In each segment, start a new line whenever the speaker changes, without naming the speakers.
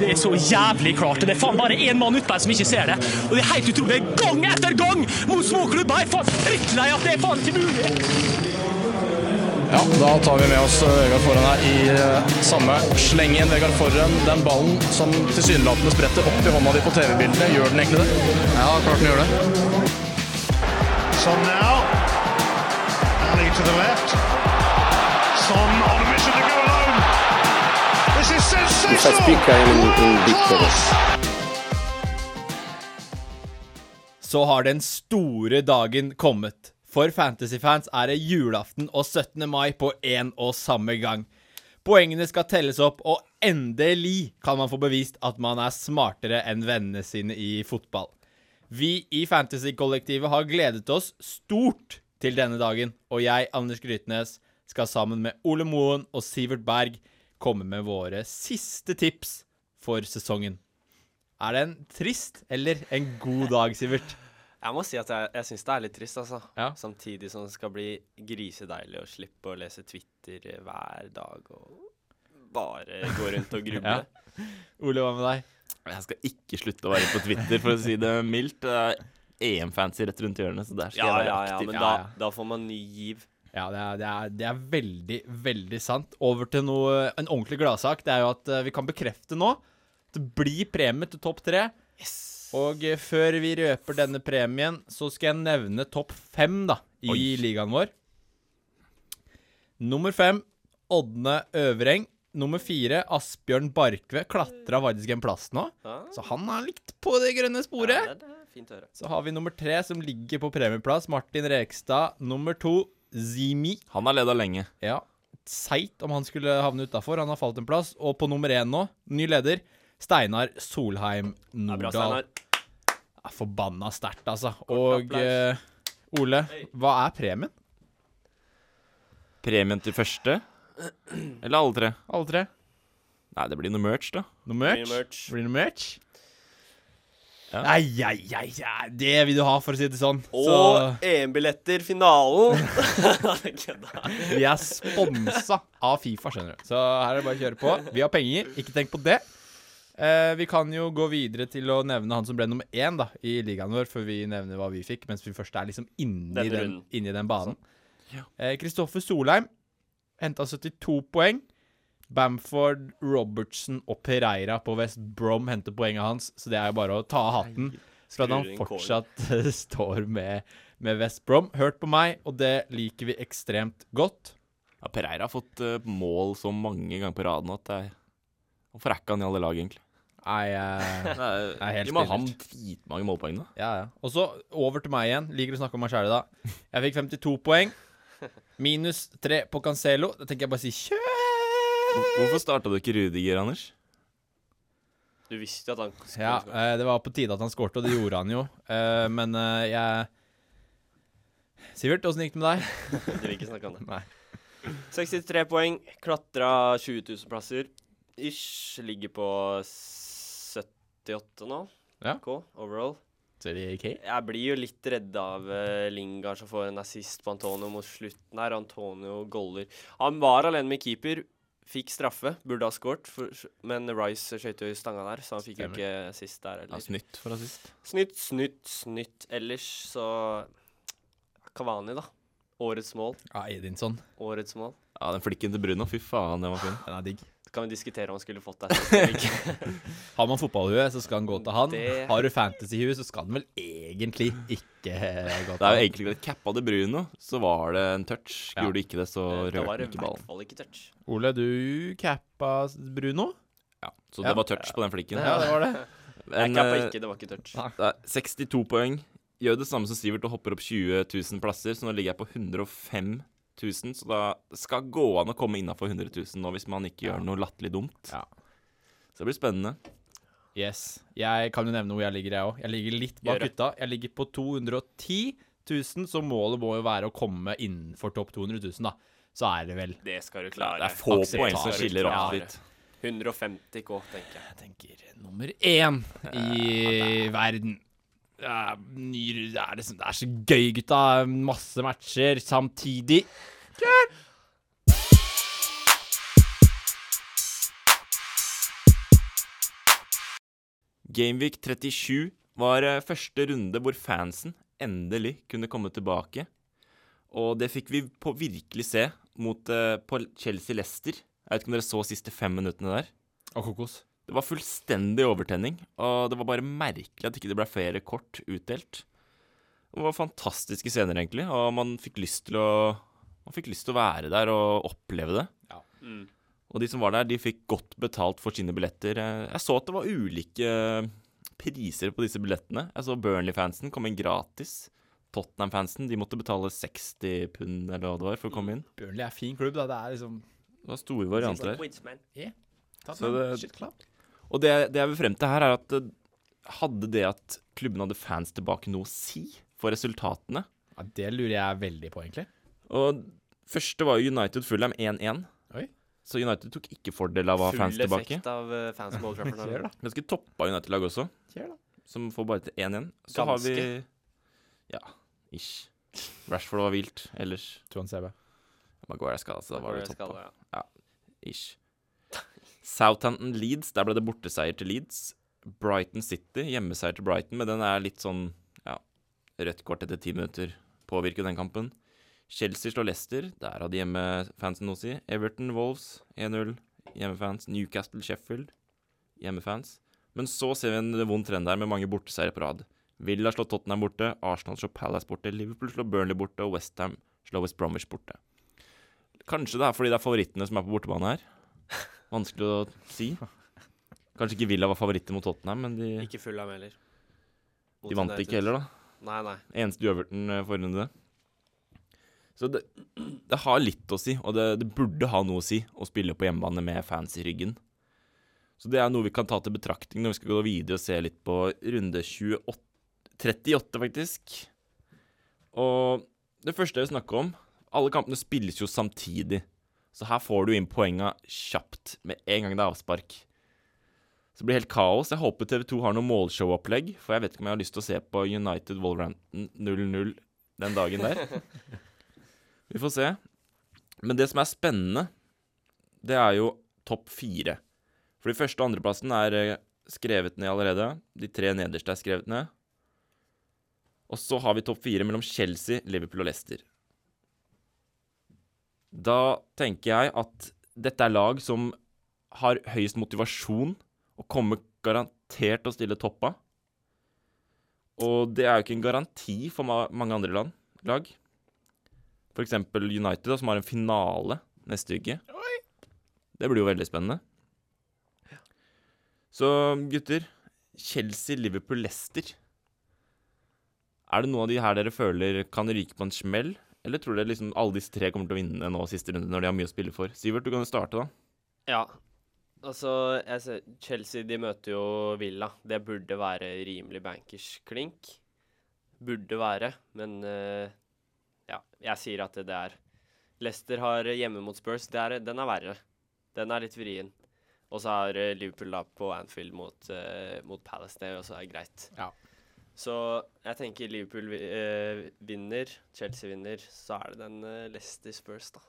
Det er så jævlig klart. og Det er faen bare én mann ute der som ikke ser det. Og det er helt utrolig. Gang etter gang mot småklubber! Jeg er faen drittlei at det er faen ikke mulig!
Ja, da tar vi med oss eh, Vegard Forhen her i eh, samme slengen. Vegard Forhen, den ballen som tilsynelatende spretter opp i hånda di på TV-bildene, gjør den egentlig det? Ja, klart den gjør det.
Son now. Ali to the left. Son on a mission to go alone. This is sensational.
Quizás pica en- en Víctor.
Class.
så har den store dagen kommet. For Fantasyfans er det julaften og 17. mai på én og samme gang. Poengene skal telles opp, og endelig kan man få bevist at man er smartere enn vennene sine i fotball. Vi i Fantasykollektivet har gledet oss stort til denne dagen, og jeg, Anders Grytnes, skal sammen med Ole Moen og Sivert Berg komme med våre siste tips for sesongen. Er det en trist eller en god dag, Sivert?
Jeg må si at jeg, jeg syns det er litt trist, altså.
Ja.
Samtidig som det skal bli grisedeilig å slippe å lese Twitter hver dag og bare gå rundt og gruble.
Ja. Ole, hva med deg?
Jeg skal ikke slutte å være på Twitter, for å si det mildt. Det er EM-fancy rett rundt hjørnet, så der skal
Ja,
jeg
ja,
være
ja,
aktiv.
men
Ja,
da,
ja.
da får man ny giv.
Ja, det er, det, er, det er veldig, veldig sant. Over til noe, en ordentlig gladsak. Det er jo at eh, vi kan bekrefte nå at det blir premie til topp tre. Og eh, før vi røper denne premien, så skal jeg nevne topp fem da, i ligaen vår. Nummer fem, Ådne Øvreng. Nummer fire, Asbjørn Barkve. Klatra faktisk en plass nå.
Ah.
Så han er litt på det grønne sporet.
Ja, det, det er fint å høre.
Så har vi nummer tre, som ligger på premieplass. Martin Rekstad. Nummer to, Zimi.
Han har leda lenge.
Ja, Seigt om han skulle havne utafor. Han har falt en plass. Og på nummer én nå, ny leder, Steinar Solheim
Det er bra,
Nordahl.
Steinar.
Det er forbanna sterkt, altså. Og
applaus.
eh, Ole, hva er premien?
Premien til første? Eller alle tre?
Alle tre?
Nei, det blir noe merch, da.
Noe merch?
Blir det merch?
Blir det noe merch?
Ja.
Nei, ja, ja, ja, det vil du ha, for å si det sånn.
Og EM-billetter, finalen! Kødda.
Vi er sponsa av Fifa, skjønner du. Så her er det bare å kjøre på. Vi har penger, ikke tenk på det. Eh, vi kan jo gå videre til å nevne han som ble nummer én da, i ligaen vår, før vi nevner hva vi fikk, mens vi først er liksom inni
Denne
den,
runden.
inni den banen. Eh, Kristoffer Solheim henta 72 poeng. Bamford, Robertson og Pereira på West Brom henter poenget hans, så det er jo bare å ta av hatten. For at
Skrur
han
inn kålen.
fortsatt eh, står med, med West Brom. Hørt på meg, og det liker vi ekstremt godt.
Ja, Pereira har fått eh, mål så mange ganger på rad nå at det er Hvorfor er ikke han i alle lag, egentlig?
Nei, eh,
Det
er helt
de må ha
spinnert.
dritmange målpoeng, da.
ja, ja. Og så over til meg igjen. Liker å snakke om meg sjæl i dag. Jeg fikk 52 poeng. Minus 3 på Cancelo. Da tenker jeg bare å si kjør!
Hvorfor starta du ikke Rudiger, Anders?
Du visste jo at han skulle
Ja, eh, det var på tide at han skårte, og det gjorde han jo. Eh, men eh, jeg Sivert, åssen gikk det med deg?
Jeg vil ikke snakke om det.
Nei.
63 poeng, klatra 20 000 plasser. Ish. Ligger på 78 nå.
Ja.
K, overall.
Ser det gikk
Jeg blir jo litt redd av eh, Lingard som får en assist på Antonio mot slutten her. Antonio goller. Han var alene med keeper, fikk straffe, burde ha skåret, for- men Rice skøyt jo i stanga der, så han fikk jo
Stemmer.
ikke assist der
Ja,
heller.
snytt fra sist.
Snytt, snytt, snytt. Ellers så Kavani, da. Årets mål.
Ja, Edinson.
Årets mål.
Ja, den flikken til Bruno, fy faen, den var fin.
Den er digg.
Så kan vi diskutere om han skulle fått deg eller ikke.
Har man fotballhue, så skal han gå til han.
Det-
Har du fantasyhue, så skal den vel egentlig ikke eh, gå til
Det er jo
han.
egentlig greit. Cappa til Bruno, så var det en touch.
Ja.
Gjorde du ikke det, så
Eh, Da
rørte
var
han
det i
ikke
hvert
ballen.
fall ikke touch.
Ole, du cappa Bruno?
Ja, så
Ja.
det var touch på den flikken.
Ja, det var det.
Jeg
Men,
kappa
eh,
ikke, det var ikke touch.
Nei.
Det er 62 poeng. Gjør det samme som Sivert og hopper opp 20 000 plasser, så nå ligger jeg på 105 000. Så da skal det gå an å komme innafor 100 000 nå, hvis man ikke gjør noe latterlig dumt.
Ja.
Så det blir spennende.
Yes. Jeg kan jo nevne hvor jeg ligger, jeg òg. Jeg ligger litt bak
Gjør det.
gutta. Jeg ligger på 210 000, så målet må jo være å komme innenfor topp 200 000, da. Så er det vel
Det skal du
Det
klare.
er få
Akseptabelt.
poeng som skiller opp
Ja.
dit.
150 K, tenker jeg.
Jeg tenker nummer én i verden. Det er, ny, det, er liksom, det er så gøy, gutta. Masse matcher samtidig.
Gameweek 37 var eh, første runde hvor fansen endelig kunne komme tilbake. Og det fikk vi på virkelig se mot, eh, på Chelsea-Lester. Jeg vet ikke om dere så siste fem minuttene der.
Og kokos.
Det var fullstendig overtenning, og det var bare merkelig at ikke det ble flere kort utdelt. Det var fantastiske scener, egentlig, og man fikk lyst til å, man fikk lyst til å være der og oppleve det.
Ja.
Og de som var der, de fikk godt betalt for sine billetter. Eh, Jeg så at det var ulike eh, priser på disse billettene. Jeg så Burnley-fansen kom inn gratis. Tottenham-fansen de måtte betale 60 pund eller hva det var for å komme inn.
Burnley er en fin klubb, da. Det er liksom
Det var store varianter der.
Tatt
Så
den.
det-
Shit, klapp.
Og det, det jeg vil frem til her, er at eh, hadde det at klubben hadde fans tilbake noe å si for resultatene?
Ja, det lurer jeg veldig på, egentlig.
Og første var jo United Fulham 1-1.
Oi.
Så United tok ikke fordel av å ha fans
Full
tilbake.
effekt av eh, fans på Old Trafford. her.
Ser da.
Ganske toppa United-lag også,
Ser da.
som får bare til 1-1. Så har vi Ja, ish. Rashford var vilt. Ellers
Trond Sebe.
Maguire er skada, så da var det
Maguire
toppa.
skadet, ja.
Ish. Southampton Leeds, der ble det borteseier til Leeds. Brighton City, hjemmeseier til Brighton, men den er litt sånn ja, rødt kort etter ti minutter. Påvirker den kampen. Chelsea slår Leicester, der hadde hjemmefansen noe å si. Everton Wolves 1-0, hjemmefans. Newcastle Sheffield, hjemmefans. Men så ser vi en vond trend der med mange borteseiere på rad. Villa slår Tottenham borte, Arsenal slår Palace borte, Liverpool slår Burnley borte, og Westham slår West Bromwich borte. Kanskje det er fordi det er favorittene som er på bortebane her. Vanskelig å si. Kanskje ikke Villa var favoritter mot Tottenham, men de,
Ikke full av heller. Mot
de vant
United.
ikke heller, da.
Nei, nei.
Eneste uavgjorten eh, forrige runde. Så det, det har litt å si, og det, det burde ha noe å si å spille på hjemmebane med fans i ryggen. Så det er noe vi kan ta til betraktning når vi skal gå videre og se litt på runde 28, 38, faktisk. Og det første jeg vil snakke om Alle kampene spilles jo samtidig. Så her får du inn poenga kjapt med en gang det er avspark. Så det blir helt kaos. Jeg håper TV2 har noe målshowopplegg, for jeg vet ikke om jeg har lyst til å se på United Wolverhampton 0-0 den dagen der. Vi får se. Men det som er spennende, det er jo topp fire. For de første og andreplassen er eh, skrevet ned allerede. De tre nederste er skrevet ned. Og så har vi topp fire mellom Chelsea, Liverpool og Leicester. Da tenker jeg at dette er lag som har høyest motivasjon og kommer garantert til å stille toppa. Og det er jo ikke en garanti for ma mange andre land, lag. For eksempel United, da, som har en finale neste uke. Det blir jo veldig spennende. Så gutter, Chelsea, Liverpool, Leicester. Er det noen av de her dere føler kan ryke på en smell? Eller tror dere liksom alle disse tre kommer til å vinne nå siste runde, når de har mye å spille for? Sivert, du kan jo starte, da.
Ja. Altså, jeg ser, Chelsea de møter jo Villa. Det burde være rimelig bankers klink. Burde være, men eh, ja, jeg sier at det er Leicester har hjemme mot Spurs. Det er, den er verre. Den er litt vrien. Og så har eh, Liverpool da på Anfield mot, eh, mot Palace. Det er også er greit.
Ja.
Så jeg tenker Liverpool vi- eh, vinner, Chelsea vinner. Så er det den eh, Leicester Spurs, da.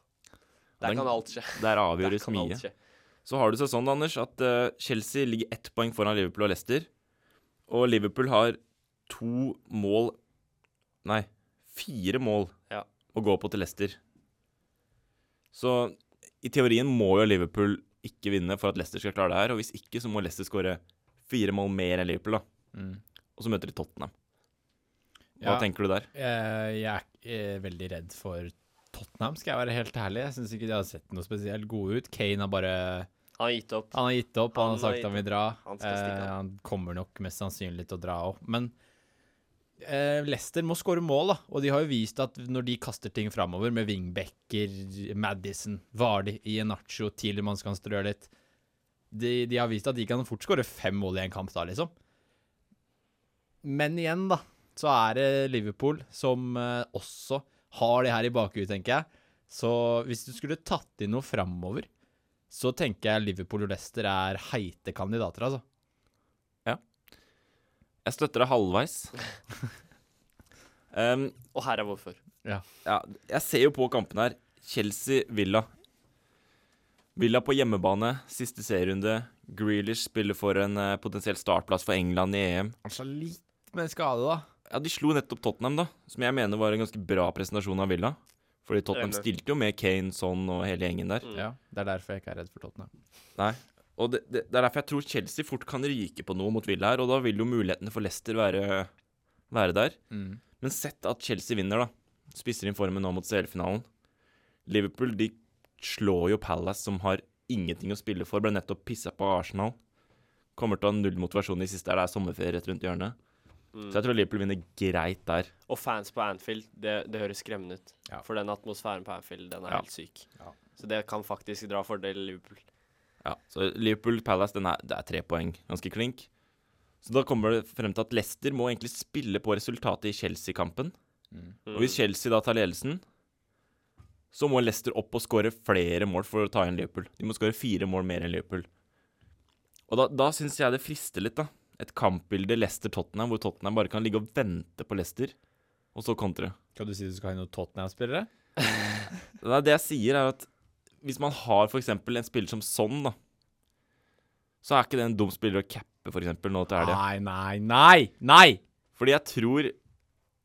Der
Den-
kan alt skje.
Der
Der
avgjøres
kan alt
mye.
skje.
Så har det seg sånn, Anders, at eh, Chelsea ligger ett poeng foran Liverpool og Leicester. Og Liverpool har to mål Nei, fire mål
Ja.
å gå på til Leicester. Så i teorien må jo Liverpool ikke vinne for at Leicester skal klare det her. Og hvis ikke, så må Leicester skåre fire mål mer enn Liverpool, da.
Mm.
Og så møter de Tottenham. Hva
Ja.
tenker du der?
Eh, Jeg er eh, veldig redd for Tottenham, skal jeg være helt ærlig. Jeg syns ikke de har sett noe spesielt gode ut. Kane har bare
Han har gitt opp.
Han har gitt opp, han,
Han
har
har
sagt han
gitt
vil dra.
Han
Han,
skal stikke av.
eh, han kommer nok mest sannsynlig til å dra òg. Men eh, Leicester må skåre mål, da. Og de har jo vist at når de kaster ting framover med wingbacker, Madison, Vardi, Ienacho, Tilemann kan strø litt de, de har vist at de kan fort skåre fem mål i en kamp da, liksom. Men igjen, da, så er det Liverpool som eh, også har det her i bakhuet, tenker jeg. Så hvis du skulle tatt inn noe framover så tenker jeg Liverpool og Leicester er heite kandidater, altså.
Jeg støtter deg halvveis. um,
Og her er hvorfor.
ja, jeg ser jo på kampen her. Chelsea-Villa. Villa på hjemmebane, siste serierunde. Grealish spiller for en eh, potensiell startplass for England i EM.
Kanskje Altså, litt med skade, da.
Ja, De slo nettopp Tottenham, da, som jeg mener var en ganske bra presentasjon av Villa. Fordi Tottenham
Enig.
stilte jo med Kane, Son og hele gjengen der.
Ja, Det er derfor jeg ikke er redd for Tottenham.
Nei. Og det, det, det er derfor jeg tror Chelsea fort kan ryke på noe mot Villa her, og da vil jo mulighetene for Leicester være, være der. Men sett at Chelsea vinner, da. Spisser inn formen nå mot CL-finalen. Liverpool de slår jo Palace, som har ingenting å spille for. Ble nettopp pissa på av Arsenal. Kommer til å ha null motivasjon i siste her. Det er sommerferie rett rundt hjørnet. Så jeg tror Liverpool vinner greit der.
Og fans på Anfield, det, det høres skremmende ut.
Ja.
For den atmosfæren på Anfield, den er helt syk.
Ja.
Så det kan faktisk dra fordel Liverpool.
Ja, så Liverpool-Palace den er, det er tre poeng. Ganske klink. Så da kommer det frem til at Leicester må egentlig spille på resultatet i Chelsea-kampen. Og hvis Chelsea da tar ledelsen, så må Leicester opp og skåre flere mål for å ta igjen Liverpool. De må skåre fire mål mer enn Liverpool. Og da, da syns jeg det frister litt, da. Et kampbilde Leicester-Tottenham, hvor Tottenham bare kan ligge og vente på Leicester, og så kontre.
Skal du si du skal ha inn noen Tottenham-spillere?
Nei, det jeg sier er at hvis man har for eksempel en spiller som Son, da, så er ikke det en dum spiller å cappe for eksempel nå til helga.
Nei, nei, nei! Nei!
Fordi jeg tror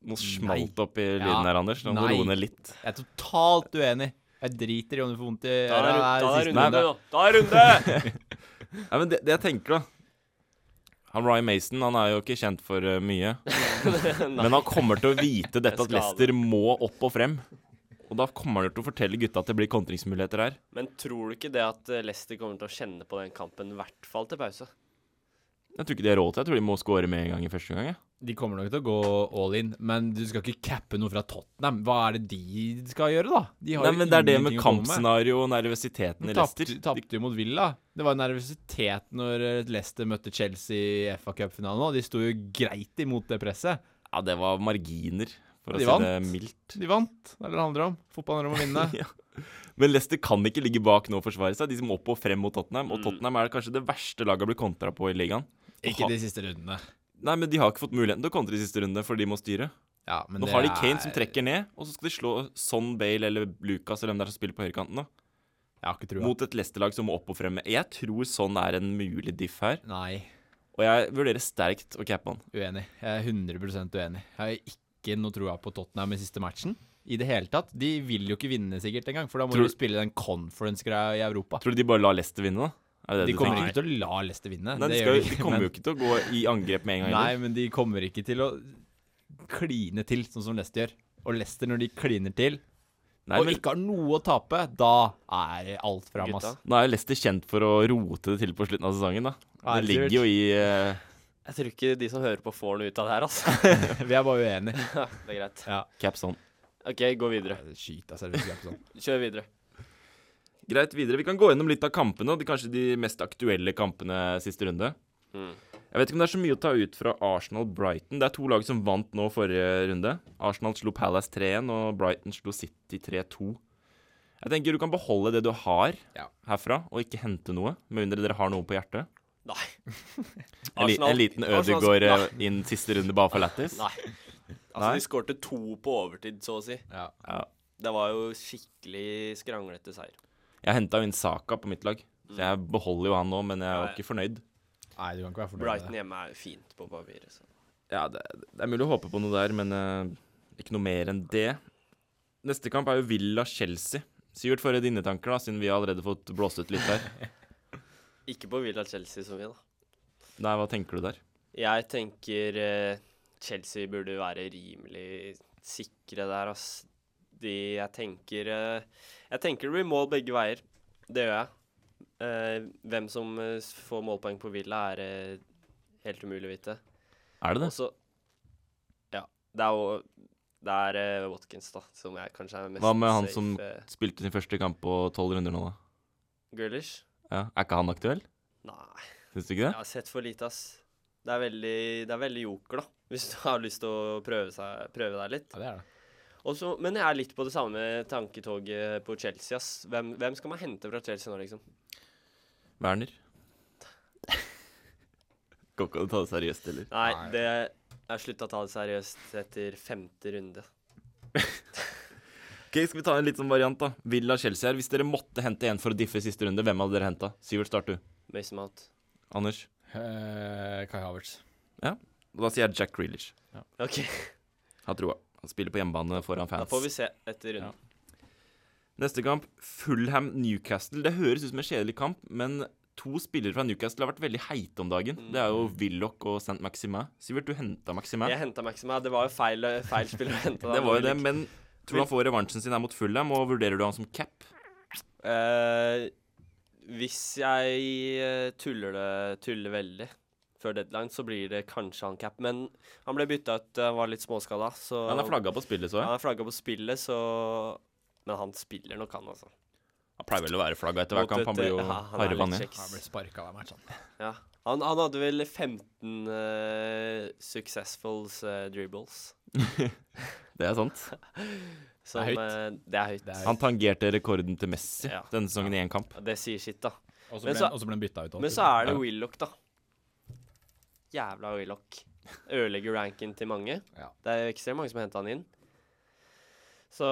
Nå smalt det opp i lyden
Ja.
her, Anders. Nå må du
Nei.
roe ned litt.
Jeg er totalt uenig. Jeg driter i om du får vondt i
Da er,
øra,
da er
siste
runde,
runde.
nå. Da er runde!
Nei, men det, det jeg tenker, da han Ryan Mason han er jo ikke kjent for eh, mye. men han kommer til å vite dette at
Skade.
Leicester må opp og frem. Og da kommer han til å fortelle gutta at det blir kontringsmuligheter her.
Men tror du ikke det at eh, Leicester kommer til å kjenne på den kampen, i hvert fall til pause?
Jeg tror ikke de har råd til det. Jeg tror de må score med en gang i første gang. jeg.
De kommer nok til å gå all in, men du skal ikke cappe noe fra Tottenham. Hva er det de skal gjøre, da? De har
Nei,
jo
men Det er det med
ingenting å komme
kampscenario og nervøsiteten i
Tapte-
Leicester. De-
Tapte jo mot Villa. Det var nervøsitet når eh, Leicester møtte Chelsea i FA Cup-finalen òg. De sto jo greit imot det presset.
Ja, det var marginer, for å
De
si
vant.
det mildt.
De vant. Det er det det handler om. Fotball handler om å vinne.
Men Leicester kan ikke ligge bak nå og forsvare seg. De som må opp og frem mot Tottenham. Og Tottenham er kanskje det verste laget å bli kontra på i ligaen.
Ikke de siste rundene.
Nei, men de har ikke fått muligheten til å kontre i siste runde, for de må styre.
Ja, men
Nå
det
har de Kane som
er-
trekker ned, og så skal de slå Son Bale eller Lucas eller hvem det er som spiller på høyrekanten nå.
Jeg har ikke trua.
Mot et Leicester-lag som må opp og frem. Jeg tror Son er en mulig diff her,
Nei,
og jeg vurderer sterkt å cappe han.
uenig. Jeg er 100 uenig. Jeg har ikke noe trua på Tottenham i siste matchen. I det hele tatt. De vil jo ikke vinne sikkert engang, for da må
Tror-
de spille den conference-greia i Europa.
Tror du de bare lar Leicester vinne, da? Er det det
De
du
kommer
tenker?
ikke til å la Leicester vinne.
Nei, de,
Det
skal,
gjør
jo- de kommer
men-
jo ikke til å gå i angrep med en gang.
Nei,
heller.
men de kommer ikke til å kline til, sånn som Leicester gjør. Og Leicester, når de kliner til
Nei,
og
men
ikke har noe å tape, da er alt fram, ass.
Gutta.
Nå er jo Leicester kjent for å rote det til på slutten av sesongen, da.
Ja,
Det
det er
ligger jo i eh,
Jeg tror ikke de som hører på, får noe ut av det her, altså.
Vi er bare uenige.
det er greit.
caps on.
OK, gå videre.
Skyt deg selv hvis du er på sånn.
Kjør videre.
Greit, videre. Vi kan gå gjennom litt av kampene, og de, kanskje de mest aktuelle kampene siste runde.
Mm.
Jeg vet ikke om det er så mye å ta ut fra Arsenal-Brighton. Det er to lag som vant nå forrige runde. Arsenal slo Palace 3-1, og Brighton slo City 3-2. Jeg tenker du kan beholde det du har
Ja.
herfra, og ikke hente noe, med mindre dere har noe på hjertet.
Nei.
En, li en liten
Arsenal-
Ødegaard eh,
Nei.
inn siste runde bare for lættis.
Nei. Altså,
Nei?
de skårte to på overtid, så å si.
Ja.
Ja.
Det var jo skikkelig skranglete seier.
Jeg henta jo inn Saka på mitt lag. Så jeg beholder jo han nå, men jeg er
Ja,
jo
ja.
ikke fornøyd.
Nei, du kan ikke være fornøyd
Brighton
med det.
hjemme er jo fint på papiret. Så.
Ja, det, det er mulig å håpe på noe der, men eh, ikke noe mer enn det. Neste kamp er jo Villa-Chelsea. Sivert, få høre dine tanker, da, siden vi har allerede fått blåst ut litt der.
Ikke på Villa Chelsea, som vi, da.
Nei, hva tenker du der?
Jeg tenker eh, Chelsea burde være rimelig sikre der, ass. De, jeg tenker eh, Jeg tenker det blir mål begge veier. Det gjør jeg. Eh, hvem som eh, s- får målpoeng på Villa, er eh, helt umulig å vite.
Er det det?
Og så Ja. Det er jo Det er eh, Watkins, da, som jeg kanskje er mest
Hva med han
safe,
som-
eh,
Spilte sin første kamp på tolv runder nå, da.
Grealish?
Ja, Er ikke han aktuell?
Nei.
Syns du ikke
Jeg
det?
har sett for lite, ass. Det er veldig, det er veldig joker, da. Hvis du har lyst til å prøve, seg, prøve deg litt.
Ja, det er det.
Og så- men jeg er litt på det samme tanketoget på Chelsea, ass. Hvem, hvem skal man hente fra Chelsea nå, liksom?
Werner? Går ikke an å ta det seriøst, heller.
Nei, det Jeg slutta å ta det seriøst etter femte runde.
Ok, Skal vi ta en litt sånn variant, da? Villa-Chelsea her. Hvis dere måtte hente en for å diffe siste runde, hvem hadde dere henta? Sivert, start du.
Mason Mount.
Anders?
Eh, Kai Havertz.
Da sier jeg Jack Grealish.
Ok,
Har troa. Han spiller på hjemmebane foran
da
fans.
får vi se etter runden.
Neste kamp, Fulham-Newcastle. Det høres ut som en kjedelig kamp, men to spillere fra Newcastle har vært veldig heite om dagen. Det er
Mm.
jo Willoch og St. Maximin. Sivert, du henta Maximin.
Jeg henta Maxima. Det var jo feil, feil spill å hente. da.
Det var jo det, men tror du han får revansjen sin her mot Fulham, og vurderer du han som cap?
Eh, hvis jeg eh, tuller det tuller veldig før deadline, så blir det kanskje han cap. Men han ble bytta ut, eh, han var litt småskada, så
Han er flagga på spillet, så jeg.
Han er flagga på spillet, så Men han spiller nok, han, altså.
Han pleier vel å være flagga etter hver
Mot
kamp. Han
et,
blir jo
eh, ja, han er
harva
litt
ned.
kjeks.
Han ble sparka hver match, han.
Ja. Han, han hadde vel 15 eh, successful eh, dribbles.
Det er sant.
Det
Som,
er
det,
høyt.
er det er høyt.
Det er-
Han tangerte rekorden til Messi
Ja.
denne sesongen i én kamp.
Det sier sitt, da.
Og så
Men
ble
så-
han- og så ble han bytta ut.
Men så er det
Ja.
Willoch, da. Jævla Willoch. Ødelegger ranken til mange.
Ja.
Det er ekstremt mange som henta han inn. Så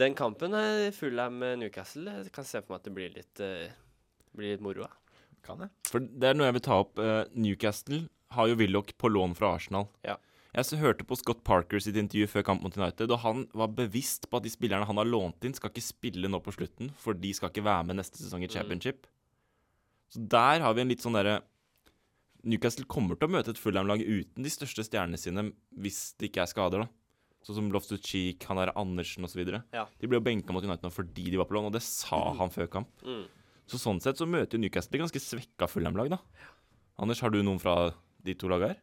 den kampen er full av med Newcastle. Jeg kan se for meg at det blir litt, eh, blir litt moro. da.
Kan det.
For det er noe jeg vil ta opp. eh, Newcastle har jo Willoch på lån fra Arsenal.
Ja.
Jeg så hørte på Scott Parker sitt intervju før kamp mot United, og han var bevisst på at de spillerne han har lånt inn, skal ikke spille nå på slutten, for de skal ikke være med neste
Mm.
sesong i championship. Så der har vi en litt sånn derre Newcastle kommer til å møte et Fulham-lag uten de største stjernene sine hvis det ikke er skader, da. Sånn som Loftus Cheek, han der Andersen osv.
Ja. Mm.
De ble jo benka mot United nå fordi de var på lån, og det sa han før kamp. Så sånn sett så møter jo Newcastle et ganske svekka Fulham-lag, da. Anders, har du noen fra de to lagene her?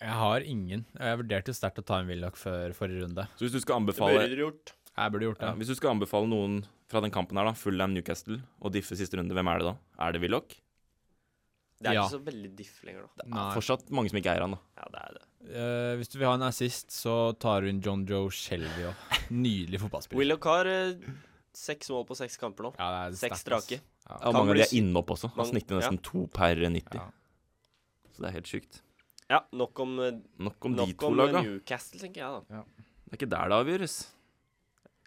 Jeg har ingen. Jeg vurderte sterkt å ta en Willoch før forrige runde.
Så hvis du skal anbefale,
dere gjort.
Jeg burde gjort
ja,
det.
hvis du skal anbefale noen fra den kampen her, da, Fulham-Newcastle og diffe siste runde, hvem er det da? Er det Willoch?
Det er
Ja.
ikke så veldig diff lenger, da.
Nei.
Fortsatt mange som ikke eier han, da.
Ja, det er det.
Eh, hvis du vil ha en assist, så tar hun John Joe Shelby òg. Nydelig fotballspiller.
Willoch har eh, seks mål på seks kamper nå.
Ja, det er
Seks
sterkt, ass.
strake.
Ja,
Kan
mange av
bli
de
s-
er inne opp også. Han
mange-
snitter nesten to per 90.
Ja.
Så det er helt sjukt.
Ja, nok om, eh,
Nok om de
nok
to
om eh,
laga.
Newcastle, tenker jeg, da.
Det er ikke der det avgjøres.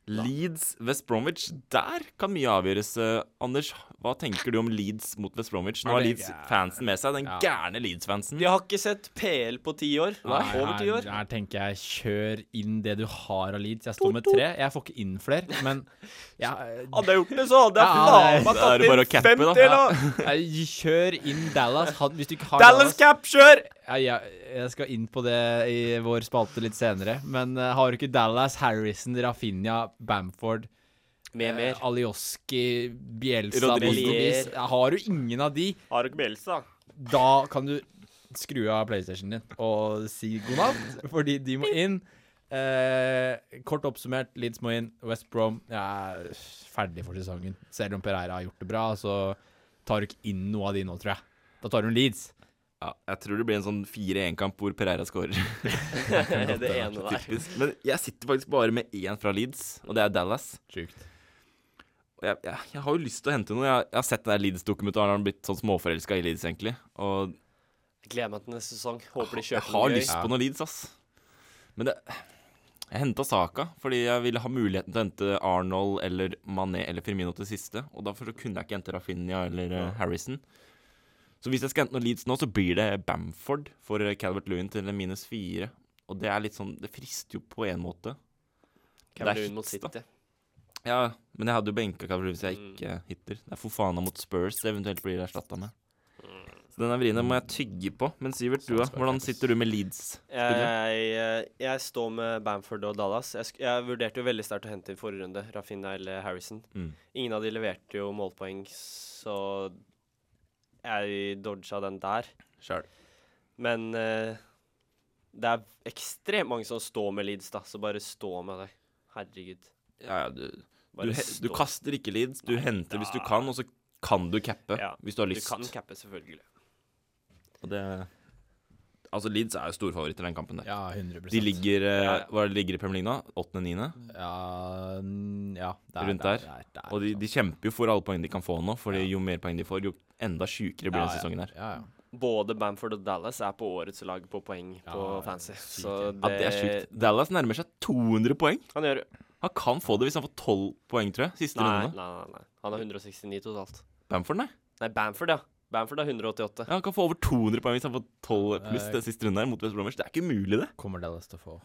Leeds, West Bromwich. Der kan mye avgjøres. Eh, Anders, hva tenker du om Leeds mot West Bromwich? Nå
Ja,
har
det er
Leeds-fansen med seg. Den
Ja.
gærne Leeds-fansen.
Jeg har ikke sett PL på ti år.
Nei,
Over ti
her-
år.
Her tenker jeg kjør inn det du har av leads. Jeg står med tre. Jeg får ikke inn flere, men jeg,
Hadde jeg gjort det, så hadde jeg
Ja,
faen
det-
meg
da er det bare å
tatt inn
cappe, da.
50, eller?
jeg eh, Kjør inn Dallas. Han- Hvis du ikke har
Dallas
Dallas
Cap, kjør!
jeg, jeg, jeg skal inn på det i vår spalte litt senere, men eh, har du ikke Dallas, Harrison, Rafinha, Bamford
Med
eh, Alioski, Bielsa
Rodriguez.
Bosnobis. Har du ingen av de,
Har du ikke Bielsa?
da kan du skru av PlayStation din og si god natt, fordi de må inn. Eh, kort oppsummert, Leeds må inn. West Brom jeg er ferdig for sesongen. Selv om Pereira har gjort det bra, så tar du ikke inn noe av de nå, tror jeg. Da tar hun Leeds.
Ja, jeg tror det blir en sånn 4-1-kamp hvor Pereira scorer.
Det ene der.
Typisk. Men jeg sitter faktisk bare med én fra Leeds, og det er Dallas.
Sjukt.
Og Jeg, jeg, jeg har jo lyst til å hente noen. Jeg, jeg har sett den der Leeds-dokumentaren. Har blitt sånn småforelska i Leeds, egentlig. Og
Gleder meg til neste sesong. Håper de
jeg
kjøper
har
noe gøy.
lyst på noe Leeds, ass. Men det Jeg henta Saka fordi jeg ville ha muligheten til å hente Arnold eller Mané eller Firmino til siste. Og derfor så kunne jeg ikke hente Rafinha eller eh, Harrison. Så hvis jeg skal hente noe Leeds nå, så blir det Bamford for eh, Calvert Lewin til en minus fire. Og det er litt sånn Det frister jo på en måte.
Hvem
Det er
blir hun mot
hits, da.
City?
Ja, men jeg hadde jo benka Calvert Lewin hvis jeg ikke eh, hitter. Det er Fofana mot Spurs det eventuelt blir erstatta med. Så den er vrien. Den må jeg tygge på. Men Sivert, du da? Hvordan sitter du med Leeds?
Jeg, jeg, jeg står med Bamford og Dallas. Jeg, sk- jeg vurderte jo veldig sterkt å hente i forrige runde, Rafinha eller Harrison.
Mm.
Ingen av de leverte jo målpoeng, så jeg dodga den der.
Sjæl.
Men eh, det er ekstremt mange som står med Leeds, da, så bare stå med det. Herregud.
Ja, ja, du,
Bare
du, he- du
stå.
kaster ikke leads, du henter hvis du kan, og så kan du cappe
Ja,
hvis du har
Du
lyst.
kan cappe, selvfølgelig.
Og det, altså, Leeds er jo storfavoritter i den kampen der.
Ja, 100
De ligger, eh,
Ja, ja.
Hva er det de ligger i Premier League nå? Åttende-niende?
ja, n- ja, der,
Rundt der. Og de, de kjemper jo for alle poeng de kan få nå, Fordi jo mer poeng de får, jo enda sjukere blir
Ja,
den
ja.
sesongen her.
Ja, ja.
Både Bamford og Dallas er på årets lag på poeng på
Ja,
Fancy.
sykt,
Så
ja.
det,
Ja, det er sjukt. Dallas nærmer seg 200 poeng.
Han gjør
Han kan få det hvis han får 12 poeng, tror jeg. Siste
Nei,
runde
nei,
nå.
nei. nei. Han har 169 totalt.
Bamford, nei.
Nei, Bamford, ja. Bamford er 188.
Ja, han kan få over 200 poeng hvis han får 12 pluss
Nei.
den siste runden her mot West Bromwich. Det er ikke umulig, det.
Kommer Dallas til å få.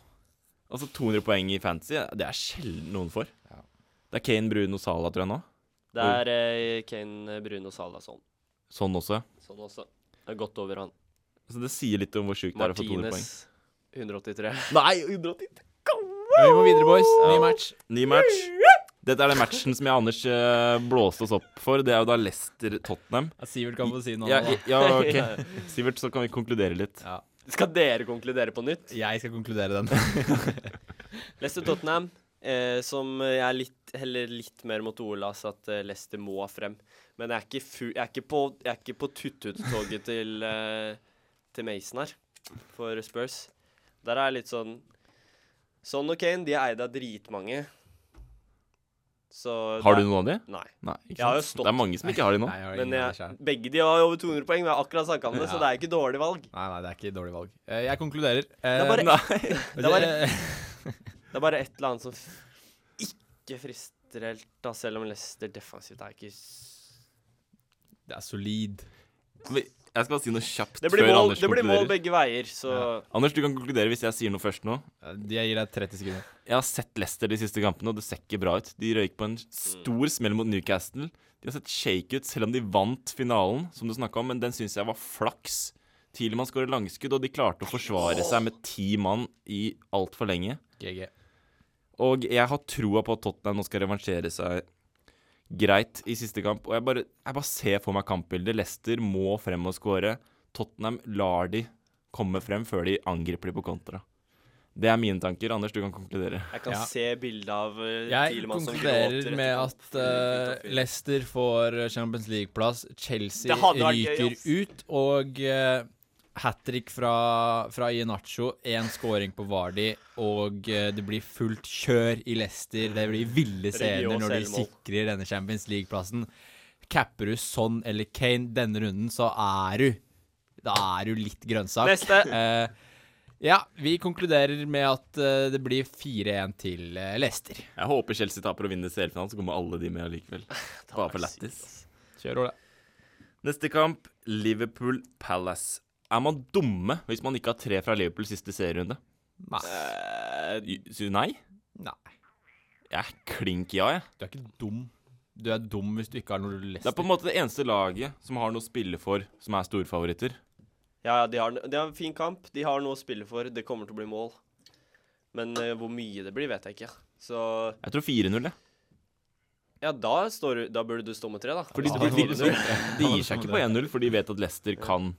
Altså 200 poeng i fantasy, det er sjelden noen får. Det er Kane, Bruno, Salah, tror jeg nå.
Det er eh, Kane, Bruno, Salah sånn.
Sånn også, ja.
Sånn også. Det er godt over han.
Så det sier litt om hvor sjukt det er å få 200 poeng.
Martinez 183.
Nei, 180
Men vi må videre, boys. Ny
Ja.
match.
Ny match. Dette er den matchen som jeg og Anders eh, blåste oss opp for. Det er jo da Leicester-Tottenham.
Ja, Sivert kan få si noe.
Ja,
nå, da.
ja, ok. Sivert, så kan vi konkludere litt.
Skal dere konkludere på nytt?
Jeg skal konkludere den.
Leicester Tottenham, eh, som jeg er litt, heller litt mer mot Olas at eh, Leicester må frem. Men jeg er ikke, fu jeg er ikke på, jeg er ikke på tuttut-toget til, eh, til Mason her, for Spurs. Der er jeg litt sånn Son og Kane, de er eid av dritmange. Så
Har
det-
du noen av de?
Nei.
Nei. Ikke
Jeg har
sant?
jo stått-
Det er mange som ikke har de nå.
Nei, jeg har
Men
ingen av de
jeg,
selv.
begge de har over 200 poeng. Vi har akkurat snakka om det, så det er ikke dårlig valg.
Nei, nei, det er ikke dårlig valg. Eh, Jeg konkluderer. Eh,
er bare-
Nei.
Det er bare, det er bare et eller annet som f- ikke frister helt, da, selv om Leicester defensivt er ikke s-
det er solid.
Vi- Jeg skal bare si noe kjapt
Det blir,
før
mål,
Anders
det blir mål
konkluderer.
begge veier, så
Anders, du kan konkludere hvis jeg sier noe først nå.
Eh, Jeg gir deg 30 sekunder.
Jeg har sett Leicester de siste kampene, og det ser ikke bra ut. De røyk på en stor smell mot Newcastle. De har sett shake ut, selv om de vant finalen, som du snakka om, men den syns jeg var flaks. Tidligmann skåret langskudd, og de klarte å forsvare seg med ti mann i altfor lenge.
GG.
Og jeg har troa på at Tottenham nå skal revansjere seg greit i siste kamp. Og jeg bare, jeg bare ser for meg kampbildet. Leicester må frem og skåre. Tottenham lar de komme frem før de angriper de på kontra. Det er mine tanker. Anders, du kan konkludere.
jeg kan
Ja.
se bildet av eh,
Jeg
Thielmann som gråter
konkluderer
etter
med
kamp.
at eh, Leicester får eh, Champions League-plass, Chelsea
Det hadde vært gøy,
ryker
ass.
ut, og uh, hat trick fra, fra Iheanacho, én scoring på Vardi, og eh, det blir fullt kjør i Leicester. Det blir ville scener
Reguilón
når de
selvmål.
sikrer denne Champions League-plassen. Capper du Son eller Kane denne runden, så er du Da er du litt grønnsak.
Neste.
Eh, ja, vi konkluderer med at eh, det blir 4-1 til eh, Leicester.
Jeg håper Chelsea taper og vinner CL-finalen, så kommer alle de med allikevel.
Det
Bare for
er sykt,
lættis.
ass.
Kjør, Ole.
Neste kamp, Liverpool Palace. Er man dumme hvis man ikke har tre fra Liverpool siste serierunde?
Nei.
Eh, sy- Nei?
Nei.
Jeg er klink ja, jeg.
Du er ikke dum. Du er dum hvis du ikke har noe
Det er på
Leicester.
en måte det eneste laget som har noe å spille for, som er storfavoritter.
Ja, ja, de har, de har en fin kamp. De har noe å spille for. Det kommer til å bli mål. Men eh, hvor mye det blir, vet jeg ikke. Så
Jeg tror 4-0, jeg.
ja, da, står du, da burde du stå med tre, da.
Fordi
Ja,
de, de,
det
de, de gir seg ikke på 1-0, for de vet at Leicester kan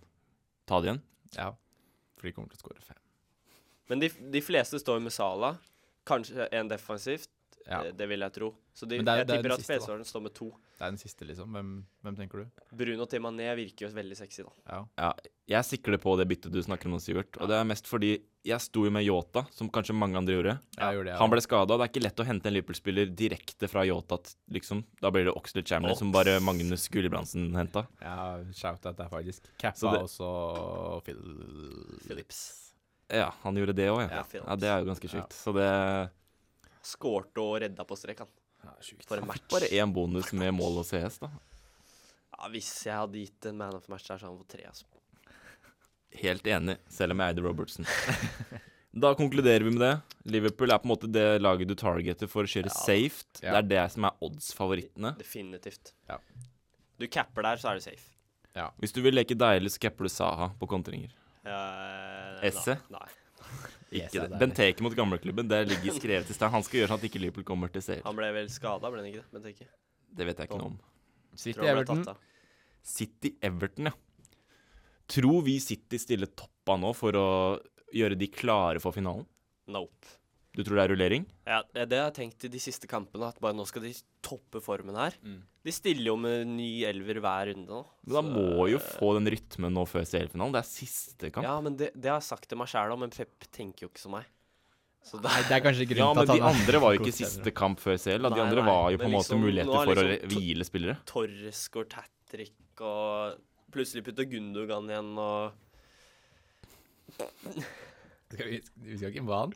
ta det igjen.
Ja. For de kommer til å skåre fem.
Men de, de fleste står med Sala. Kanskje en defensivt.
Ja.
Det, det vil jeg tro. Så de,
Men det er-
jeg
det er
tipper
den
at
siste, da.
PSV-eren står med to.
Det er den siste, liksom. Hvem, hvem tenker du?
Bruno til Mané virker jo veldig sexy, da.
Ja, jeg sikler på det byttet du snakker om, Sivert. Og det er mest fordi jeg sto jo med Yota, som kanskje mange andre gjorde.
Jeg gjorde det.
Han ble skada. Det er ikke lett å hente en Liverpool-spiller direkte fra Yota. t- Liksom. Da blir det Oxlade Chamberlain, som bare Magnus Gulbrandsen henta.
ja, shout-out der, faktisk.
Så
Cappa
det-
og så Phil Phillips.
Ja, han gjorde det òg, ja.
Ja.
ja. Det er jo ganske sjukt. Så det
Skårte og redda på strek, han. For en match.
Bare én bonus med mål og CS, da.
Ja, hvis jeg hadde gitt en man of match der, så hadde han fått tre. Altså.
Helt enig, selv om jeg eide Robertson. Da konkluderer vi med det. Liverpool er på en måte det laget du targeter for å kjøre safe. Det
Ja.
er det som er odds-favorittene.
Definitivt.
Ja.
Du capper der, så er du safe.
Hvis du vil leke deilig, så capper du Saha på kontringer.
Eh,
Esse?
Nei. nei.
Yes,
Ikke
det er
det. Benteke mot gamleklubben, det ligger skrevet i stein. Han skal gjøre sånn at ikke Liverpool kommer til seier.
Han ble vel skada, ble han ikke det? Men tenker jeg.
Det vet jeg ikke noe om.
City
Tror han ble
Everton.
tatt av.
City-Everton, ja. Tror vi City stiller toppa nå for å gjøre de klare for finalen?
Nope.
Du tror det er rullering?
Ja, det er det jeg har tenkt i de siste kampene, at bare nå skal de toppe formen her.
Mm.
De stiller jo med ny elver hver runde nå.
Men da
så- eh,
må jo få den rytmen nå før CL-finalen. Det er siste kamp.
Ja, men det, det har jeg sagt til meg sjæl òg, men Pep tenker jo ikke som meg. Så det
Nei, det er kanskje
Ja,
grunnen
men
til
de
at han
andre var jo ikke siste kamp før CL. Da. De
Nei,
andre
nei,
var jo
men
på en måte
liksom, nå
muligheter
er
for å
liksom
re- hvile spillere.
Torres går hat trick, og plutselig putter Gundogan igjen, og
Skal vi, vi skal ikke hva han?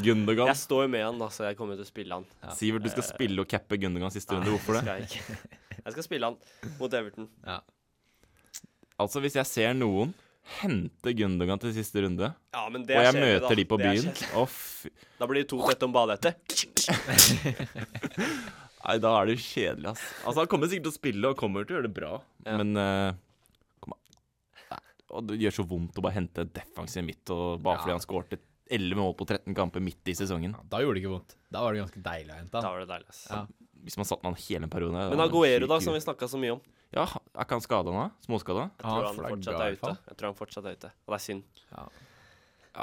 Gundogan.
Jeg står jo med han, da, så jeg kommer jo til å spille han.
Sivert, du skal
Eh.
spille
Ah,
og cappe Gundogan siste runde. Hvorfor det?
Skal jeg, ikke. jeg skal spille han mot Everton.
Ja.
Altså, hvis jeg ser noen hente Gundogan til siste runde,
Ja, men det
og
er
jeg
kjedelig, da.
møter de på
Det er
byen
kjedelig.
Å, fy
Da blir det to tett om badet etter.
Nei, da er det jo kjedelig, ass. Altså, han kommer sikkert til å spille og kommer til å gjøre det bra, men eh, kom an. Nei, Og det gjør så vondt å bare hente en defensiv midt og bare fordi han skårte 11 mål på 13 kamper midt i sesongen.
Da gjorde det ikke vondt. Da var det ganske deilig å hente
Da
han.
var det deilig, ass.
Ja.
Hvis man satt med han hele en periode da
Men
var det
Aguero,
syk
da,
i
som vi
huet.
snakka så mye om,
Ja, er ikke han skada nå? Småskada?
jeg tror han
flagga
fortsatt
i
er
hvert
ute.
fall.
Jeg tror han fortsatt er ute. Og det er synd.
Ja,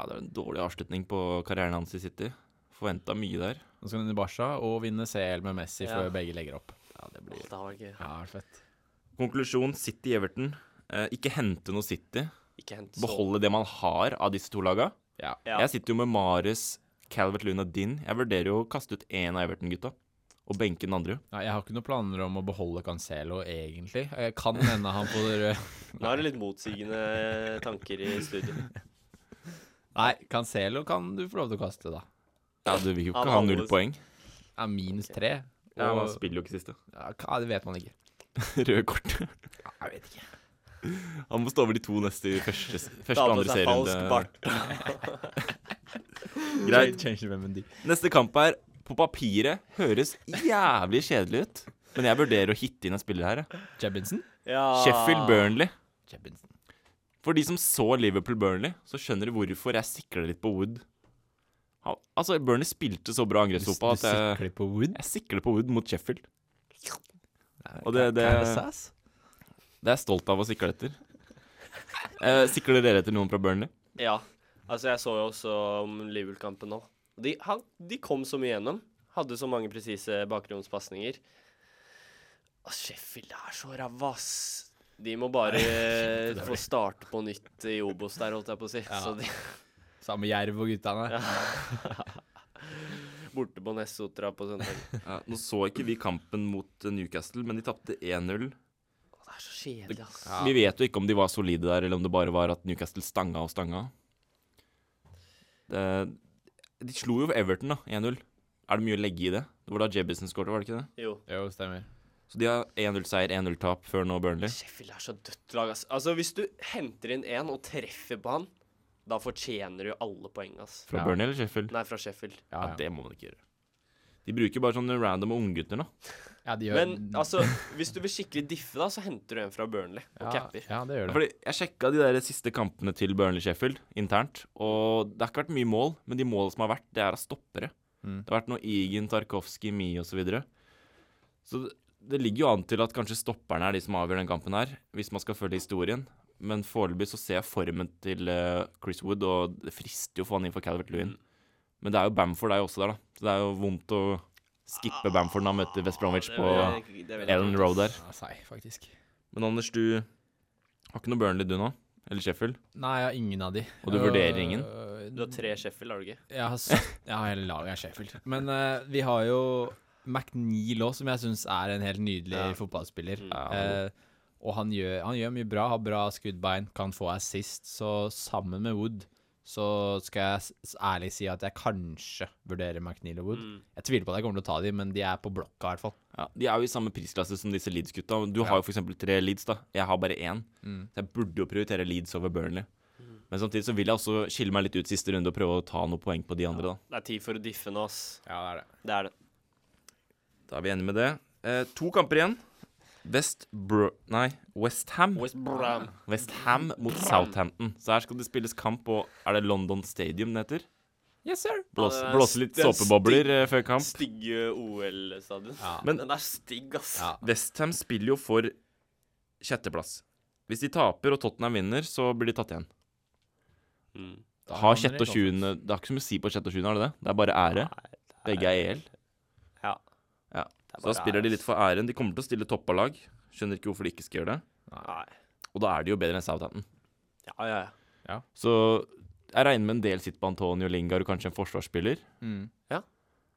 det er en dårlig avslutning på karrieren hans i City. Forventa mye der.
Nå skal han inn i Barca og vinne CL med Messi
Ja.
før begge legger opp.
Ja, det
Det
blir
har vært gøy.
Ja, fett.
Konklusjon City-Everton. Eh, ikke hente noe City.
Ikke hent så
Beholde det man har av disse to laga.
Ja.
Ja.
Jeg sitter jo med Mares, Calvert Luna Din. Jeg vurderer jo å kaste ut én av Everton-gutta. Og benke den andre.
Ja, jeg har ikke noen planer om å beholde Cancelo, egentlig. Jeg kan hende han får
Nå er det litt motsigende tanker i studio.
Nei, Cancelo kan du få lov til å kaste, da.
Ja, Du vil jo
Han
ikke ha null
holdes.
poeng.
Ja, minus tre.
Ja,
Og,
man spiller jo ikke siste.
ja, ka- det vet man ikke.
Røde kort.
Jeg vet ikke.
Han må stå over de to neste i første, første
Ta
og
på
andre
seg falsk
serierunde.
bart.
Greit.
Change hvem de
Neste kamp er på papiret høres jævlig kjedelig ut. Men jeg vurderer å hitte inn en spiller her. jeg.
Jebinson?
Ja.
Ah.
Sheffield Burnley.
Jebinson.
For de som så Liverpool Burnley, så skjønner de hvorfor jeg sikler litt på Wood. Han- Altså, Burnley spilte så bra
Du, du
angrepsfotball at jeg,
sikler på Wood?
jeg sikler på Wood mot Sheffield. Og det, det, det
sass?
er jeg stolt av å sikle etter. Eh, sikler dere etter noen fra Burnley?
Ja. Altså, jeg så jo også om Liverpool-kampen nå. De, han, de kom så mye gjennom. Hadde så mange presise bakromspasninger. Å, Sheffield er så ræva, ass. De må bare få starte på nytt i Obos der, holdt jeg på å si. Så de
Samme Jerv og gutta der.
borte på Nessotra på søndag.
Ja, nå så ikke vi kampen mot eh, Newcastle, men de tapte 1-0.
Å, Det er så kjedelig, ass.
Vi vet jo ikke om de var solide der, eller om det bare var at Newcastle stanga og stanga. Det, de slo jo Everton, da. 1-0. Er det mye å legge i det? Det var da Jebbison skåret, var det ikke det?
Jo.
Jo, stemmer.
Så de har 1-0-seier, 1-0-tap før nå Burnley.
Sheffield er så dødt lag, ass. Altså, hvis du henter inn én og treffer på han, da fortjener du alle poeng, ass.
Fra
Ja.
Burnley eller Sheffield?
Nei, fra Sheffield.
Ja,
Ja, det må man ikke gjøre. De bruker bare sånne random unggutter nå.
ja de gjør
Men altså, hvis du vil skikkelig diffe, da, så henter du en fra Burnley og
ja,
capper.
Ja, det gjør det.
Fordi jeg sjekka de der siste kampene til Burnley-Sheffield internt, og det har ikke vært mye mål, men de målene som har vært, det er av stoppere.
Mm.
Det har vært noe Igen, Tarkovskij, Mie osv. Så, videre. så det, det ligger jo an til at kanskje stopperne er de som avgjør den kampen her, hvis man skal følge historien. Men foreløpig så ser jeg formen til eh, Chris Wood, og det frister jo å få han inn for Calvert Lewin.
Mm.
Men det er jo Bamford der også der, da. Så det er jo vondt å skippe Bamford når han møter West Bromwich på
det er veldig
Ellen Road der.
Ja, Seig, faktisk.
Men Anders, du har ikke noe Burnley du nå? Eller Sheffield?
Nei, jeg har ingen av de.
Og du vurderer ingen?
Øh,
Du har tre Sheffield, har du ikke?
Jeg har, s- jeg har hele laget, jeg er Sheffield. Men eh, vi har jo McNeil òg, som jeg syns er en helt nydelig fotballspiller. Eh, og han gjør, han gjør mye bra, har bra skuddbein, kan få assist. Så sammen med Wood så skal jeg s- ærlig si at jeg kanskje vurderer McNeil og Wood. Jeg tviler på at jeg kommer til å ta dem, men de er på blokka i hvert fall.
Ja, De er jo i samme prisklasse som disse Leeds-gutta. Du har jo f.eks. tre Leeds, da. Jeg har bare én. Så jeg burde jo prioritere Leeds over Burnley.
Mm.
Men samtidig så vil jeg også skille meg litt ut siste runde og prøve å ta noen poeng på de andre, da.
Det er tid for å diffe nå, ass.
Ja, det er det.
Det er det.
Da er vi enige med det. Eh, to kamper igjen. West Bro... Nei, Westham.
West Brom.
Westham mot Southampton. Så her skal det spilles kamp på Er det London Stadium den heter?
Yes, sir!
Blåse,
Ja, det er
blåse litt
st- det er
såpebobler eh, før kamp.
Stygge OL-stadion.
Men-
Den er stygg, ass.
Ja.
Westham spiller jo for sjetteplass. Hvis de taper og Tottenham vinner, så blir de tatt igjen.
Mm.
Har sjette og sjuende Det har ikke så mye å si på sjette og sjuende, har det det? Det er bare ære. Begge er EL.
Ja.
Ja.
er
Så da
bare
spiller de
ære,
litt for æren. De kommer til å stille toppa lag. Skjønner ikke hvorfor de ikke skal gjøre det.
Nei.
Og da er de jo bedre enn Southampton.
Ja, ja, ja.
Så jeg regner med en del sitt på Antonio Lingard og kanskje en forsvarsspiller.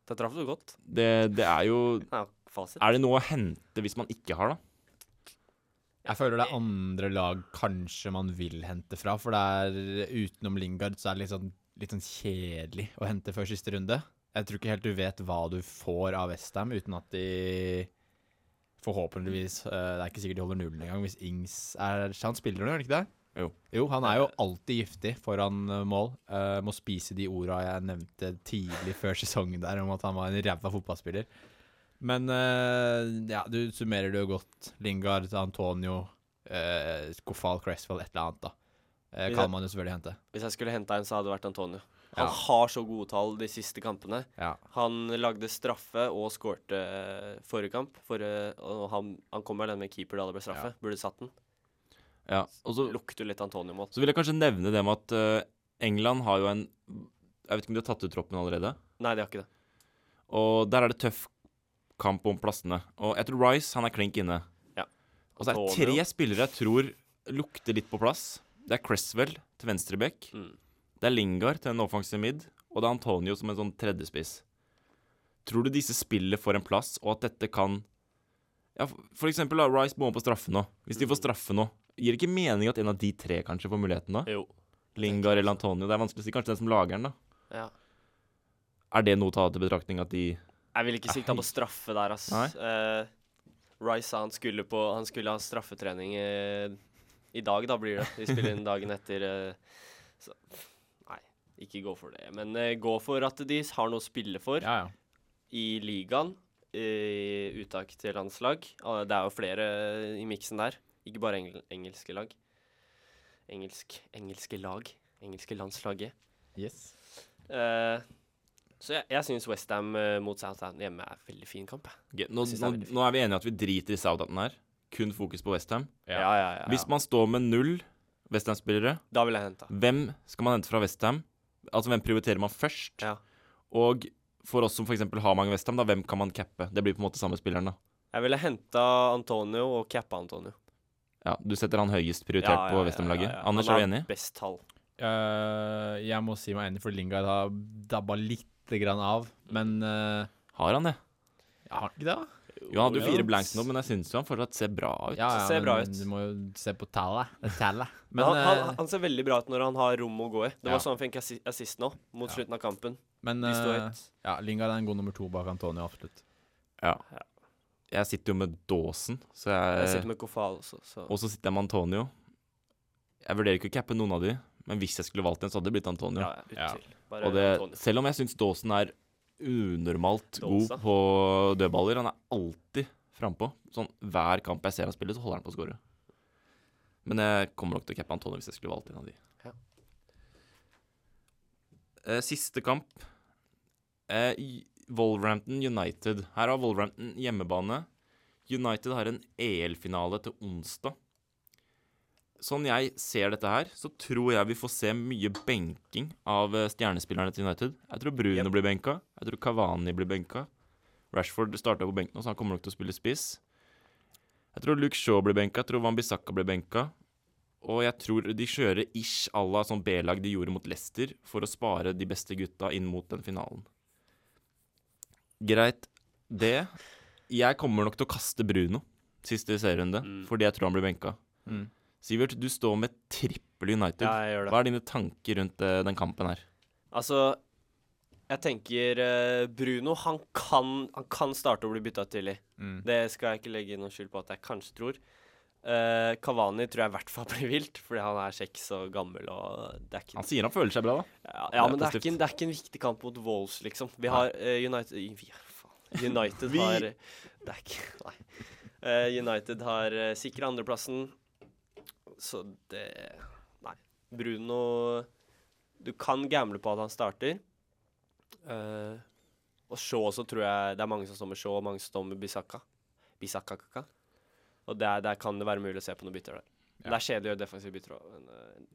Der traff du godt.
Det, det er jo
Ja, fasit.
Er det noe å hente hvis man ikke har, da?
Jeg føler det er andre lag kanskje man vil hente fra, for det er utenom Lingard så er det litt sånn, litt sånn kjedelig å hente før siste runde. Jeg tror ikke helt du vet hva du får av Westham uten at de Forhåpentligvis. eh, det er ikke sikkert de holder nullen engang hvis Ings er Han spiller nå, gjør han ikke det?
Jo.
Jo, han er jo alltid giftig foran eh, mål. Eh, må spise de orda jeg nevnte tidlig før sesongen der om at han var en ræva fotballspiller. Men eh, ja, du summerer det jo godt. Lingard, Antonio, uh, Kofal, Cresswell, et eller annet, da. Eh, kan man jo selvfølgelig hente.
Hvis jeg skulle henta en, så hadde det vært Antonio. Han har så gode tall de siste kampene.
Ja.
Han lagde straffe og skårte eh, forrige kamp. Forrige, og han, han kom alene med keeper da det ble straffe. Burde satt den.
Ja, og så,
Lukter litt Antonio-mål.
så vil jeg kanskje nevne det med at eh, England har jo en Jeg vet ikke om de har tatt ut troppen allerede.
Nei, de har ikke det.
Og der er det tøff kamp om plassene. Og jeg tror Rice han er klink inne.
Ja.
Og så er det
Antonio.
tre spillere jeg tror lukter litt på plass. Det er Cresswell til venstreback.
Mm.
Det er Lingard til en offensiv mid. Og det er Antonio som en sånn tredjespiss. Tror du disse spiller for en plass, og at dette kan Ja, for- for eksempel da, Rice bommer på straffe nå. Hvis de får
Mm.
straffe nå, gir det ikke mening at en av de tre kanskje får muligheten da?
Jo.
Lingard eller Antonio. Det er vanskelig å si. Kanskje den som lager den, da.
Ja.
Er det noe å ta til betraktning at de
Jeg ville ikke sikta på straffe der, ass.
Nei.
Eh, Rice sa han skulle, på, han skulle ha straffetrening i, i dag, da blir det. Vi spiller inn dagen etter. eh, så, nei, ikke gå for det. Men eh, gå for at de har noe å spille for
Ja, ja.
i ligaen. I uttak til landslag. Ah, Det er jo flere i miksen der. Ikke bare engel engelske lag. Engelsk, engelske lag. Engelske landslaget.
Yes.
Eh, så jeg, jeg syns Westham uh, mot Southampton hjemme er en veldig fin kamp. jeg.
Ok, nå,
Jeg synes det
nå,
er veldig fint.
nå er vi enige at vi driter i Southampton her. Kun fokus på Westham.
Ja.
Ja, ja, ja.
Hvis man står med null Westham-spillere,
Da vil jeg hente.
hvem skal man hente fra Westham? Altså, hvem prioriterer man først?
Ja.
Og for oss som f.eks. har mange Westham, da, hvem kan man cappe? Det blir på en måte samme spilleren, da.
Jeg ville henta Antonio og cappa Antonio.
Ja, du setter han høyest prioritert
Ja, ja,
på
ja,
Westham-laget.
ja, ja.
Anders,
Han
er
har
du enig?
Best tall.
Eh, jeg må si meg enig, for Lingard har dabba lite grann av. Men eh,
Har han det?
jeg har ikke det, da.
Jo, han hadde jo
ja.
fire blanks nå, men jeg syns jo han fortsatt ser bra ut.
Ja, ja,
ser
men
bra ut.
Du må jo se på tallet. Det er tallet. Men,
Men han, han,
eh,
han ser veldig bra ut når han har rom å gå i. Det
Ja.
var sånn han fikk assi- assist nå, mot slutten av kampen.
men
De står
eh,
høyt.
ja, Lingard er en god nummer to bak Antonio, absolutt.
Ja. Jeg sitter jo med Dawson, så
Jeg
jeg
sitter med Kofal også, så
Eh, Og så sitter jeg med Antonio. Jeg vurderer ikke å cappe noen av de, men hvis jeg skulle valgt en, så hadde det blitt Antonio.
ja, uten
Ja.
tvil. Bare
Og det,
Antonio.
selv om jeg syns Dawson er unormalt god
Dawson.
på dødballer, han er alltid frampå. Sånn, hver kamp jeg ser han spille, så holder han på å score. Men jeg kommer nok til å cappe Antonio hvis jeg skulle valgt en av de.
Ja.
Eh, siste kamp. Eh, i- Wolverhampton United. Her har Wolverhampton hjemmebane. United har en EL-finale til onsdag. Sånn jeg ser dette her, så tror jeg vi får se mye benking av eh, stjernespillerne til United. Jeg tror Bruno blir benka. Jeg tror Kavani blir benka. Rashford starta på benken, nå, så han kommer nok til å spille spiss. Jeg tror Luke Shaw blir benka. Jeg tror Van Bissaka blir benka. Og jeg tror de kjører ish à la sånn B-lag de gjorde mot Leicester, for å spare de beste gutta inn mot den finalen. Greit, det. Jeg kommer nok til å kaste Bruno siste serierunde, fordi jeg tror han blir benka. Sivert, du står med trippel United.
Ja, jeg gjør det.
Hva er dine tanker rundt eh, den kampen her?
Altså, jeg tenker eh, Bruno, han kan, han kan starte å bli bytta ut tidlig.
Mm.
Det skal jeg ikke legge noen skyld på at jeg kanskje tror. Eh, Kavani tror jeg i hvert fall blir vilt, fordi han er kjekk og gammel og det er ikke
Han sier han føler seg bra, da.
Ja,
Det
ja
er
men det er,
positivt.
ikke en, det er ikke en viktig kamp mot Wolves, liksom. Vi har eh, United vi har, faen. United har eh, Det er ikke Nei. Eh, United har uh, sikra andreplassen, så det Nei. Bruno Du kan gamble på at han starter. Eh, og Shaw også tror jeg Det er mange som står med Shaw, og mange som står med Bisaka. Bisaka Kaka. Og der, der kan det være mulig å se på noen bytter der. Det er kjedelig å gjøre defensive bytter òg, men eh,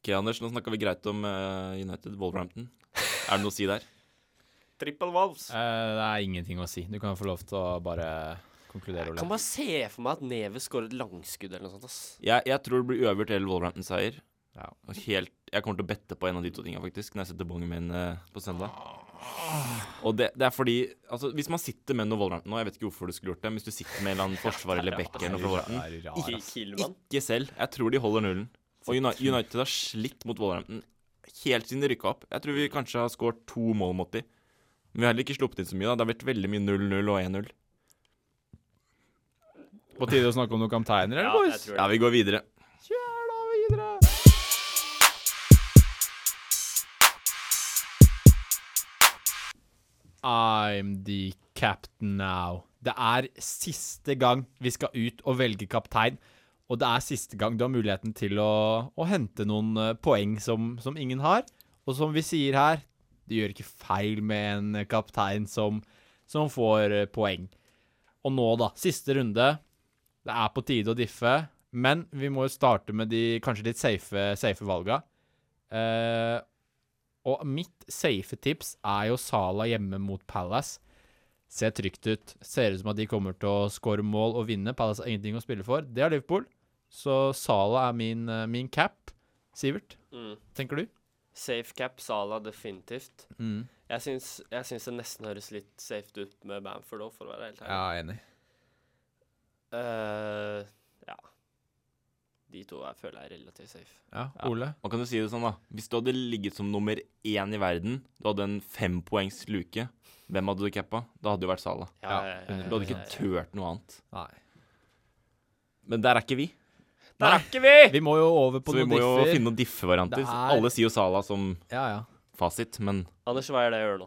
Ok, Anders, nå snakka vi greit om eh, United, Wolverhampton. Er det noe å si der?
Triple Wolves.
Eh, det er ingenting å si. Du kan få lov til å bare konkludere,
Jeg kan
Ole.
bare se for meg at Neves skårer et langskudd eller noe sånt. ass.
Jeg, jeg tror det blir uavgjort eller Wolverhampton-seier.
Ja.
Og Helt, jeg kommer til å bette på en av de to tinga, faktisk, når jeg setter bongen min eh, på søndag. Og det, det er fordi altså, Hvis man sitter med noe Wolverhampton nå, jeg vet ikke hvorfor du skulle gjort det, men hvis du sitter med en eller annen forsvarer eller backer eller noe fra Wolverhampton,
Det er rar, ass.
Kilman.
ikke selv. Jeg tror de holder nullen. Og Uni- United har slitt mot Wolverhampton helt siden de rykka opp. Jeg tror vi kanskje har skåret to mål mot de. Men vi har heller ikke sluppet inn så mye. da Det har vært veldig mye 0-0 og 1-0.
På tide å snakke om noen kapteiner, eller,
Ja,
boys?
jeg tror
Ja,
det.
vi går videre.
I'm the captain now. Det er siste gang vi skal ut og velge kaptein. Og det er siste gang du har muligheten til å, å hente noen eh, poeng som, som ingen har. Og som vi sier her, du gjør ikke feil med en kaptein som, som får eh, poeng. Og nå, da. Siste runde. Det er på tide å diffe. Men vi må jo starte med de kanskje litt safe, safe valga. Eh, og mitt safe tips er jo Sala hjemme mot Palace. Ser trygt ut. Ser ut som at de kommer til å skåre mål og vinne. Palace har ingenting å spille for. Det har Liverpool. Så Sala er min, eh, min cap. Sivert,
Mm.
tenker du?
Safe cap, Sala definitivt.
Mm.
Jeg syns, jeg syns det nesten høres litt safe ut med Bamford òg, for å være helt ærlig.
Ja, enig.
Eh, ja. De to jeg føler er relativt safe.
Ja,
Ja.
Ole?
Man kan jo si det sånn, da. Hvis du hadde ligget som nummer én i verden, du hadde en fempoengs luke, hvem hadde du cappa? Da hadde det jo vært Sala.
Ja,
Du hadde ikke tørt noe annet.
Nei.
Men der er ikke vi.
Der er ikke vi!
Vi må jo over på
Så vi
noen
må jo
differ.
finne noen diffe-varianter.
Det er-
Alle sier jo Sala som
Ja, ja.
fasit, men
Anders, hva er det jeg gjør nå?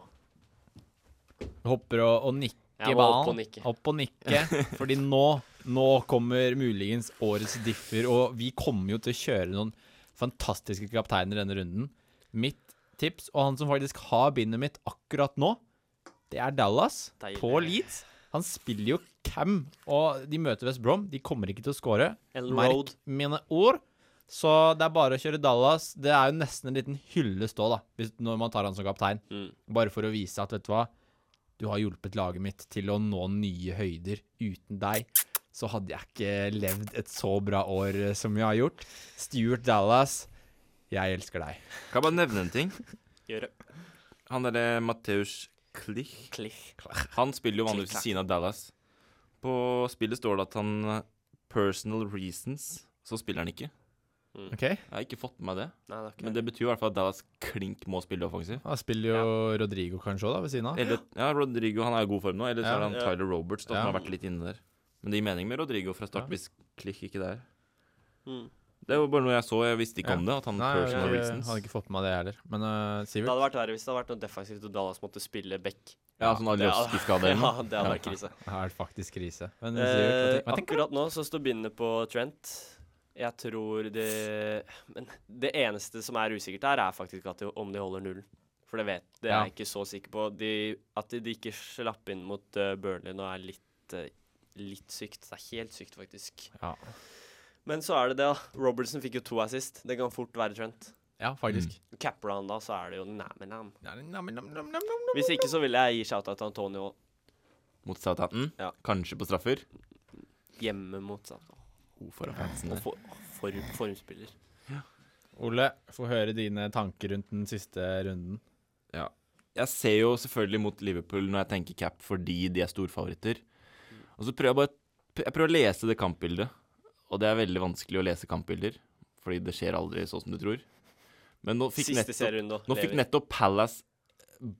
Hopper og, og nikker
Jeg må opp og
ballen.
nikke.
Opp og nikke. Fordi nå, nå kommer muligens årets differ, og vi kommer jo til å kjøre noen fantastiske kapteiner denne runden. Mitt tips, og han som faktisk har bindet mitt akkurat nå, det er Dallas
Deilig.
på Leeds. Han spiller jo cam, og de møter West Brom. De kommer ikke til å score.
El
Merk
Road.
mine ord. Så det er bare å kjøre Dallas. Det er jo nesten en liten hyllest òg, da, hvis, når man tar han som kaptein.
Mm.
Bare for å vise at, vet du hva, du har hjulpet laget mitt til å nå nye høyder. Uten deg så hadde jeg ikke levd et så bra år eh, som jeg har gjort. Stuart Dallas, jeg elsker deg.
kan jeg bare nevne en ting.
Gjøre
Han derre Mateus Klich
klikk.
Han spiller jo vanligvis ved siden av Dallas. På spillet står det at han eh, Personal reasons, så spiller han ikke.
Ok?
Jeg har ikke fått med meg det.
Nei, det er ikke
Men det betyr i hvert fall at Dallas klink må spille offensiv.
Da spiller jo Rodrigo kanskje òg, da, ved siden av.
Eller, ja, Rodrigo han er i god form nå. Eller så
Ja.
er det han Tyler Roberts da, som
Ja.
har vært litt inne der. Men det gir mening med Rodrigo fra start hvis Klikk ikke der.
Mm.
Det var bare noe jeg så. Jeg visste ikke
Ja.
om det. At han
Nei, jeg,
personal
jeg
reasons
hadde ikke fått med meg det heller. Men eh,
Det
Sivert?
hadde vært verre hvis det hadde vært noe defensivt og Dallas måtte spille back.
Ja, sånn
Det hadde-
Aljoski-skade eller
Ja,
noe.
det hadde vært krise.
Det er faktisk krise. Men
Eh,
Sivert, hva tenker- hva tenker du?
akkurat nå så står bindet på Trent. Jeg tror det Men det eneste som er usikkert her, er faktisk at de, om de holder nullen. For det vet det er
Ja.
jeg ikke så sikker på. De, at de, de ikke slapp inn mot eh, Burnley nå, er litt eh, Litt sykt. Det er helt sykt, faktisk.
Ja.
Men så er det det, da. Robertson fikk jo to assist. Det kan fort være Trent.
Ja, faktisk.
Capper han da, så er det jo nam-nam.
Nam, nam, nam, nam, nam.
Hvis ikke så ville jeg gi shout-out til Antonio
Mot Southampton.
Ja.
Kanskje på straffer.
hjemme mot seg.
Oh, for fansen
Og
der.
for, form- formspiller.
Mm. Ole, få høre dine tanker rundt den siste runden.
jeg ser jo selvfølgelig mot Liverpool når jeg tenker cap fordi de er storfavoritter. Og så prøver jeg bare Jeg prøver å lese det kampbildet. Og det er veldig vanskelig å lese kampbilder, fordi det skjer aldri sånn som du tror. Men nå fikk,
Siste
nettopp,
serierunde òg.
nå fikk nettopp Palace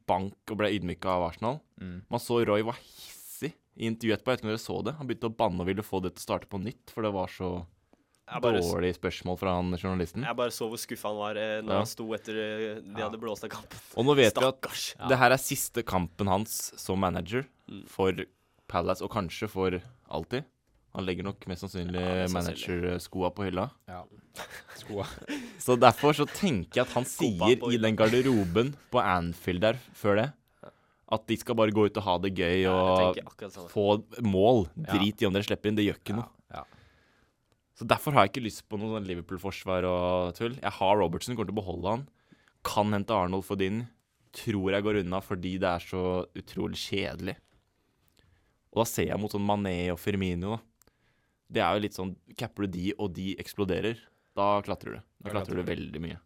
bank og ble ydmyka av Arsenal.
Mm.
Man så Roy var hissig i intervjuet etterpå. Jeg vet ikke om dere så det. Han begynte å banne og ville få det til å starte på nytt, for det var så
jeg, bare, s-
dårlig spørsmål fra han journalisten.
jeg bare så hvor skuffa han var eh, når
Ja.
han sto etter eh, de hadde blåst av kampen.
Og nå vet vi at
Stakkars.
Det her er siste kampen hans som manager
Mm.
for Palace, og kanskje for alltid. Han legger nok mest sannsynlig
Ja, mest sannsynlig.
managerskoa på hylla.
Ja. Skoa.
Så derfor så tenker jeg at han sier
på
i den garderoben på Anfield der før det, at de skal bare gå ut og ha det gøy
Ja, jeg
og
tenker akkurat sånn.
få mål.
Ja.
Drit i om dere slipper inn, det gjør ikke noe.
Ja.
Så derfor har jeg ikke lyst på noe sånn Liverpool-forsvar og tull. Jeg har Robertson, kommer til å beholde han. Kan hente Arnold for din. Tror jeg går unna fordi det er så utrolig kjedelig. Og da ser jeg mot sånn Mané og Firmino, da. Det er jo litt sånn Capper du de, og de eksploderer, da klatrer du. Da klatrer du veldig mye.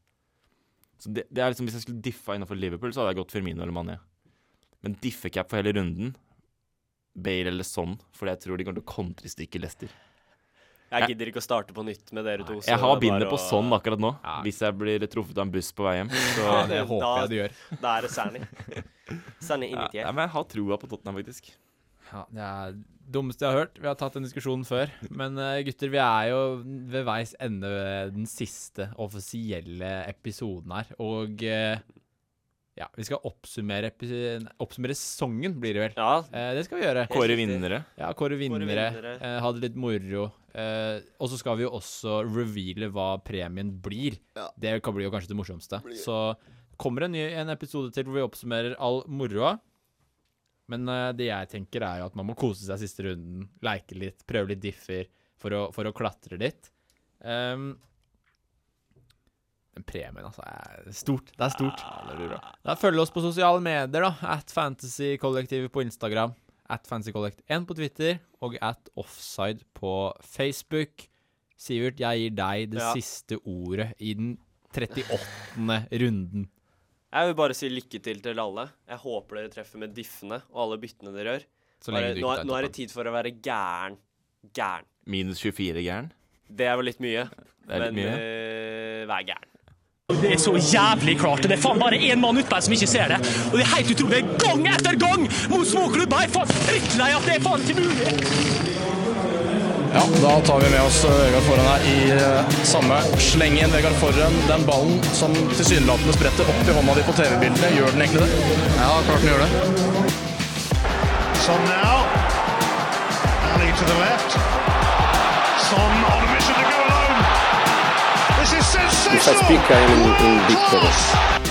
Så det, det er liksom, Hvis jeg skulle diffa innafor Liverpool, så hadde jeg gått Firmino eller Mané. Men diffe-cap for hele runden, Bale eller Son, fordi jeg tror de kommer til å kontristykke Leicester.
Jeg gidder ikke å starte på nytt med dere to. så
Jeg har
det er
bindet
bare
på
å-
sånn akkurat nå.
Ja.
Hvis jeg blir truffet av en buss på vei hjem. Så
Ja, det håper
Da-
jeg du gjør.
Da er det Serny. Serny
ja,
inni
ja,
tida.
men jeg har troa på Tottenham, faktisk.
Ja, det er Dummeste jeg har hørt. Vi har tatt den diskusjonen før. Men eh, gutter, vi er jo ved veis ende ved den siste offisielle episoden her. Og eh, ja, vi skal oppsummere, epi nei, oppsummere sesongen, blir det vel.
Ja,
Eh, det skal vi gjøre.
Kåre vinnere.
Ja, kåre vinnere.
vinnere.
eh, ha det litt moro. Eh, og så skal vi jo også reveale hva premien blir. Det kan bli jo kanskje det morsomste. Så kommer en, ny, en episode til hvor vi oppsummerer all moroa. Men eh, det jeg tenker, er jo at man må kose seg siste runden. Leke litt, prøve litt differ for å, for å klatre litt. Um, men premien, altså, er stort. Det er stort. Da Følg oss på sosiale medier, da. At Fantasykollektivet på Instagram. At FantasyCollect1 på Twitter. Og at Offside på Facebook. Sivert, jeg gir deg det
Ja.
siste ordet i den 38. runden.
Jeg vil bare si lykke til til alle. Jeg håper dere treffer med diffene og alle byttene dere gjør.
Så
Bare,
lenge du
nå,
ikke
er-
tar
nå er det
toppen.
tid for å være gæren. Gæren.
Minus 24 gæren.
Det er vel litt mye,
Det er litt
men
mye.
eh, vær gæren.
Det er så jævlig klart. og Det er faen bare én mann ute her som ikke ser det. Og det er helt utrolig. Gang etter gang mot småklubber. Jeg er faen drittlei at det er faen ikke mulig.
Ja, da tar vi med oss eh, Vegard Forhen her i eh, samme slengen. Vegard Forhen, den ballen som tilsynelatende spretter opp i hånda di på TV-bildene, gjør den egentlig det? Ja, klart den gjør det.
Son now. Ali to the left. Son on a mission to go alone. This is sensational.
speak, I am in- in big
Class.